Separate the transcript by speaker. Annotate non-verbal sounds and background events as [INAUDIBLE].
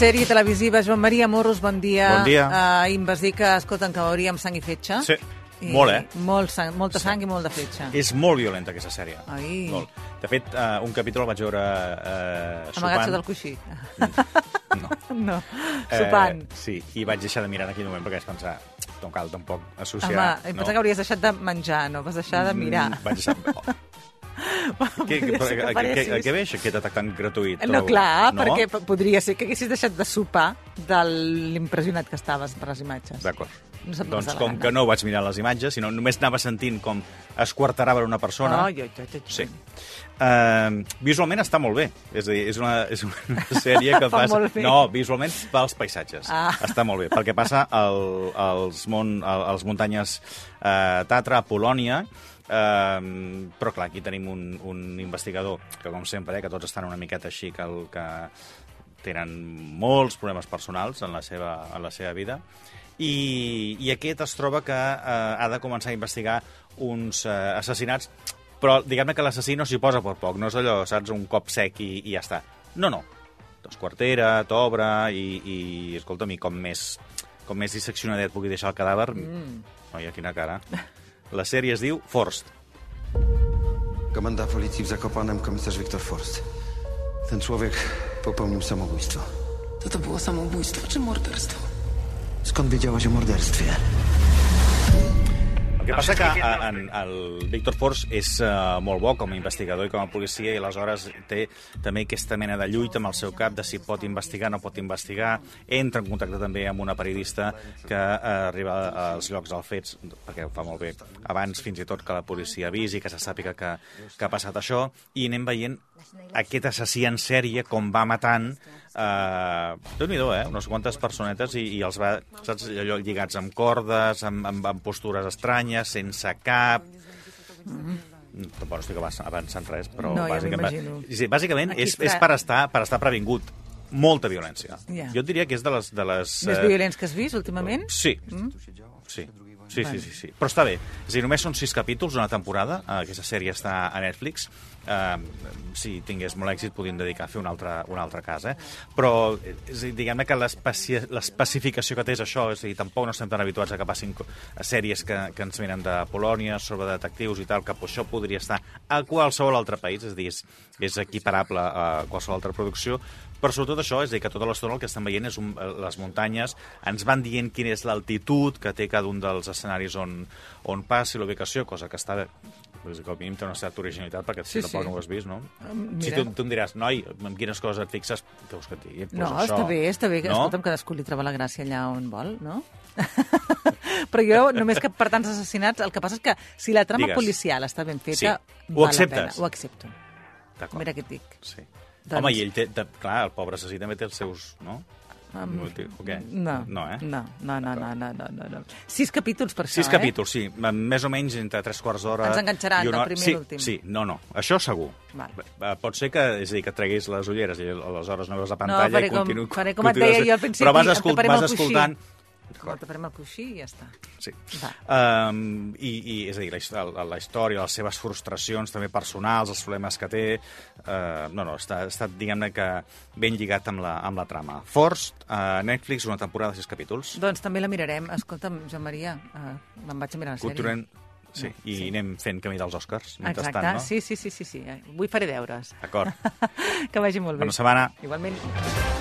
Speaker 1: Sèrie televisiva, Joan Maria Morros, bon dia.
Speaker 2: Bon dia.
Speaker 1: Ahir em vas dir que, escolta'm, que veuríem sang i fetge.
Speaker 2: Sí. Molt, eh?
Speaker 1: Molt sang, molta sang i molt de fetge.
Speaker 2: És molt violenta, aquesta sèrie.
Speaker 1: Ai.
Speaker 2: Molt. De fet, uh, un capítol el vaig veure uh,
Speaker 1: Amagat
Speaker 2: sopant. Mm.
Speaker 1: sota el coixí. [LAUGHS]
Speaker 2: No.
Speaker 1: No, sopant.
Speaker 2: Eh, sí, i vaig deixar de mirar en aquell moment perquè vaig pensar, no cal tampoc associar...
Speaker 1: Home, em
Speaker 2: ah, no.
Speaker 1: pensava que hauries deixat de menjar, no? Vas deixar de mirar.
Speaker 2: Mm, Vaig deixar...
Speaker 1: [LAUGHS]
Speaker 2: Oh. Què,
Speaker 1: Podria ser que
Speaker 2: a, a,
Speaker 1: paressis.
Speaker 2: a, què ve això, aquest atac tan gratuït?
Speaker 1: No,
Speaker 2: trobo?
Speaker 1: clar,
Speaker 2: no?
Speaker 1: perquè p- podria ser que haguessis deixat de sopar de l'impressionat que estaves per les imatges.
Speaker 2: D'acord.
Speaker 1: No se't
Speaker 2: doncs
Speaker 1: passa la
Speaker 2: com
Speaker 1: gana.
Speaker 2: que no vaig mirar les imatges, sinó només anava sentint com es quartarava una persona...
Speaker 1: No, jo, jo, jo, jo.
Speaker 2: Sí. Uh, visualment està molt bé. És a dir, és una, és
Speaker 1: [LAUGHS]
Speaker 2: una sèrie que
Speaker 1: Fa
Speaker 2: passa...
Speaker 1: molt bé.
Speaker 2: No, Oh, visualment fa els paisatges.
Speaker 1: Ah.
Speaker 2: Està molt bé, perquè passa al, als, mon, al, als muntanyes eh, Tatra, a Polònia, eh, però clar, aquí tenim un, un investigador que, com sempre, eh, que tots estan una miqueta així, que, el, que tenen molts problemes personals en la seva, en la seva vida, i, i aquest es troba que eh, ha de començar a investigar uns eh, assassinats, però diguem-ne que l'assassí no s'hi posa per poc, no és allò, saps, un cop sec i, i ja està. No, no, t'esquartera, Doncs t'obre i, i escolta'm, i com més, com més disseccionadet pugui deixar el cadàver... Mm. Noia, quina cara. La sèrie es diu Forst.
Speaker 3: Komenda policji w Zakopanem, komisarz Wiktor Forst. Ten człowiek popełnił samobójstwo.
Speaker 4: To to było samobójstwo czy morderstwo?
Speaker 3: Skąd wiedziałaś o morderstwie?
Speaker 2: El que passa que a, en, el Víctor Forst és uh, molt bo com a investigador i com a policia i aleshores té també aquesta mena de lluita amb el seu cap de si pot investigar o no pot investigar. Entra en contacte també amb una periodista que uh, arriba als llocs dels fets, perquè ho fa molt bé, abans fins i tot que la policia avisi, que se sàpiga que, que ha passat això, i anem veient aquest assassí en sèrie com va matant eh, déu nhi eh? unes quantes personetes i, i els va, saps, allò, lligats amb cordes, amb, amb, amb postures estranyes, sense cap... Mm. Tampoc no estic avanç- avançant res, però
Speaker 1: No, ja
Speaker 2: bàsicament,
Speaker 1: m'imagino.
Speaker 2: sí, bàsicament
Speaker 1: Aquí
Speaker 2: és,
Speaker 1: fra-
Speaker 2: és per, estar, per estar previngut. Molta violència.
Speaker 1: Ja.
Speaker 2: Jo et diria que és de les... De les
Speaker 1: Més Mm?
Speaker 2: eh,
Speaker 1: violents que has vist últimament?
Speaker 2: Sí. Sí. Sí, sí, sí, sí. Però està bé. És a dir, només són sis capítols, una temporada. Eh, Aquesta sèrie està a Netflix. Eh, si tingués molt èxit, podien dedicar a fer un altre, un altre cas, eh? Però, eh, és a dir, diguem-ne que l'especi- l'especificació que té és això, és a dir, tampoc no estem tan habituats a que passin co- a sèries que, que ens venen de Polònia, sobre detectius i tal, que això podria estar a qualsevol altre país, és a dir, és, és equiparable a qualsevol altra producció, però sobretot això, és a dir, que tota l'estona el que estem veient és un, eh, les muntanyes, ens van dient quina és l'altitud que té cada un dels escenaris on, on passa i la ubicació, cosa que està bé. Vull dir, que al mínim té una certa originalitat, perquè
Speaker 1: Sí,
Speaker 2: sí, tampoc
Speaker 1: sí. Ah,
Speaker 2: no ho has vist, no?
Speaker 1: mira.
Speaker 2: Si tu, tu em diràs, noi, en quines coses et fixes, què vols que et digui? Doncs
Speaker 1: No,
Speaker 2: això.
Speaker 1: està bé, està bé. No?
Speaker 2: No?
Speaker 1: Escolta'm, cadascú li troba la gràcia allà on vol, no? [LAUGHS] Però jo, només que per tants assassinats, el que passa és que si la trama
Speaker 2: Digues.
Speaker 1: policial està ben feta,
Speaker 2: Sí. Ho
Speaker 1: val la
Speaker 2: acceptes?
Speaker 1: pena. Ho accepto.
Speaker 2: D'acord.
Speaker 1: Mira què et dic.
Speaker 2: Sí.
Speaker 1: Doncs-
Speaker 2: Doncs... Home, i ell té, té, clar, el pobre assassí també té els seus, no?
Speaker 1: Um,
Speaker 2: No ho dic, o què?
Speaker 1: No,
Speaker 2: No, eh?
Speaker 1: no, no, no, no, no, no, no, no. Sis capítols per això,
Speaker 2: Sis
Speaker 1: eh?
Speaker 2: capítols, sí. Més o menys entre tres quarts d'hora...
Speaker 1: Ens enganxaran
Speaker 2: i una
Speaker 1: del
Speaker 2: hora.
Speaker 1: primer
Speaker 2: sí,
Speaker 1: i l'últim.
Speaker 2: Sí, no, no. Això segur.
Speaker 1: Val.
Speaker 2: Eh, Pot ser que, és a dir, que et treguis les ulleres i aleshores no veus la
Speaker 1: No,
Speaker 2: pantalla
Speaker 1: faré
Speaker 2: i
Speaker 1: com-
Speaker 2: continu...
Speaker 1: faré com et
Speaker 2: continues-
Speaker 1: deia jo al principi,
Speaker 2: Però vas,
Speaker 1: em
Speaker 2: escol
Speaker 1: taparem
Speaker 2: vas
Speaker 1: el coixí.
Speaker 2: escoltant...
Speaker 1: Ho taparem al coixí i ja està.
Speaker 2: Sí. Um,
Speaker 1: Va.
Speaker 2: i, I, és a dir, la, his- la, la història, les seves frustracions també personals, els problemes que té... Uh, no, no, està, està diguem-ne que ben lligat amb la, amb la trama. Forst, a Netflix, una temporada de sis capítols.
Speaker 1: Doncs també la mirarem. Escolta'm, Joan Maria, eh, me'n vaig a mirar la sèrie.
Speaker 2: Continuem... Sí, i sí. anem fent camí dels Oscars, mentrestant,
Speaker 1: Exacte,
Speaker 2: no?
Speaker 1: sí, sí, sí, sí, sí. Avui faré deures.
Speaker 2: D'acord.
Speaker 1: que vagi molt bé.
Speaker 2: Bona setmana.
Speaker 1: Igualment.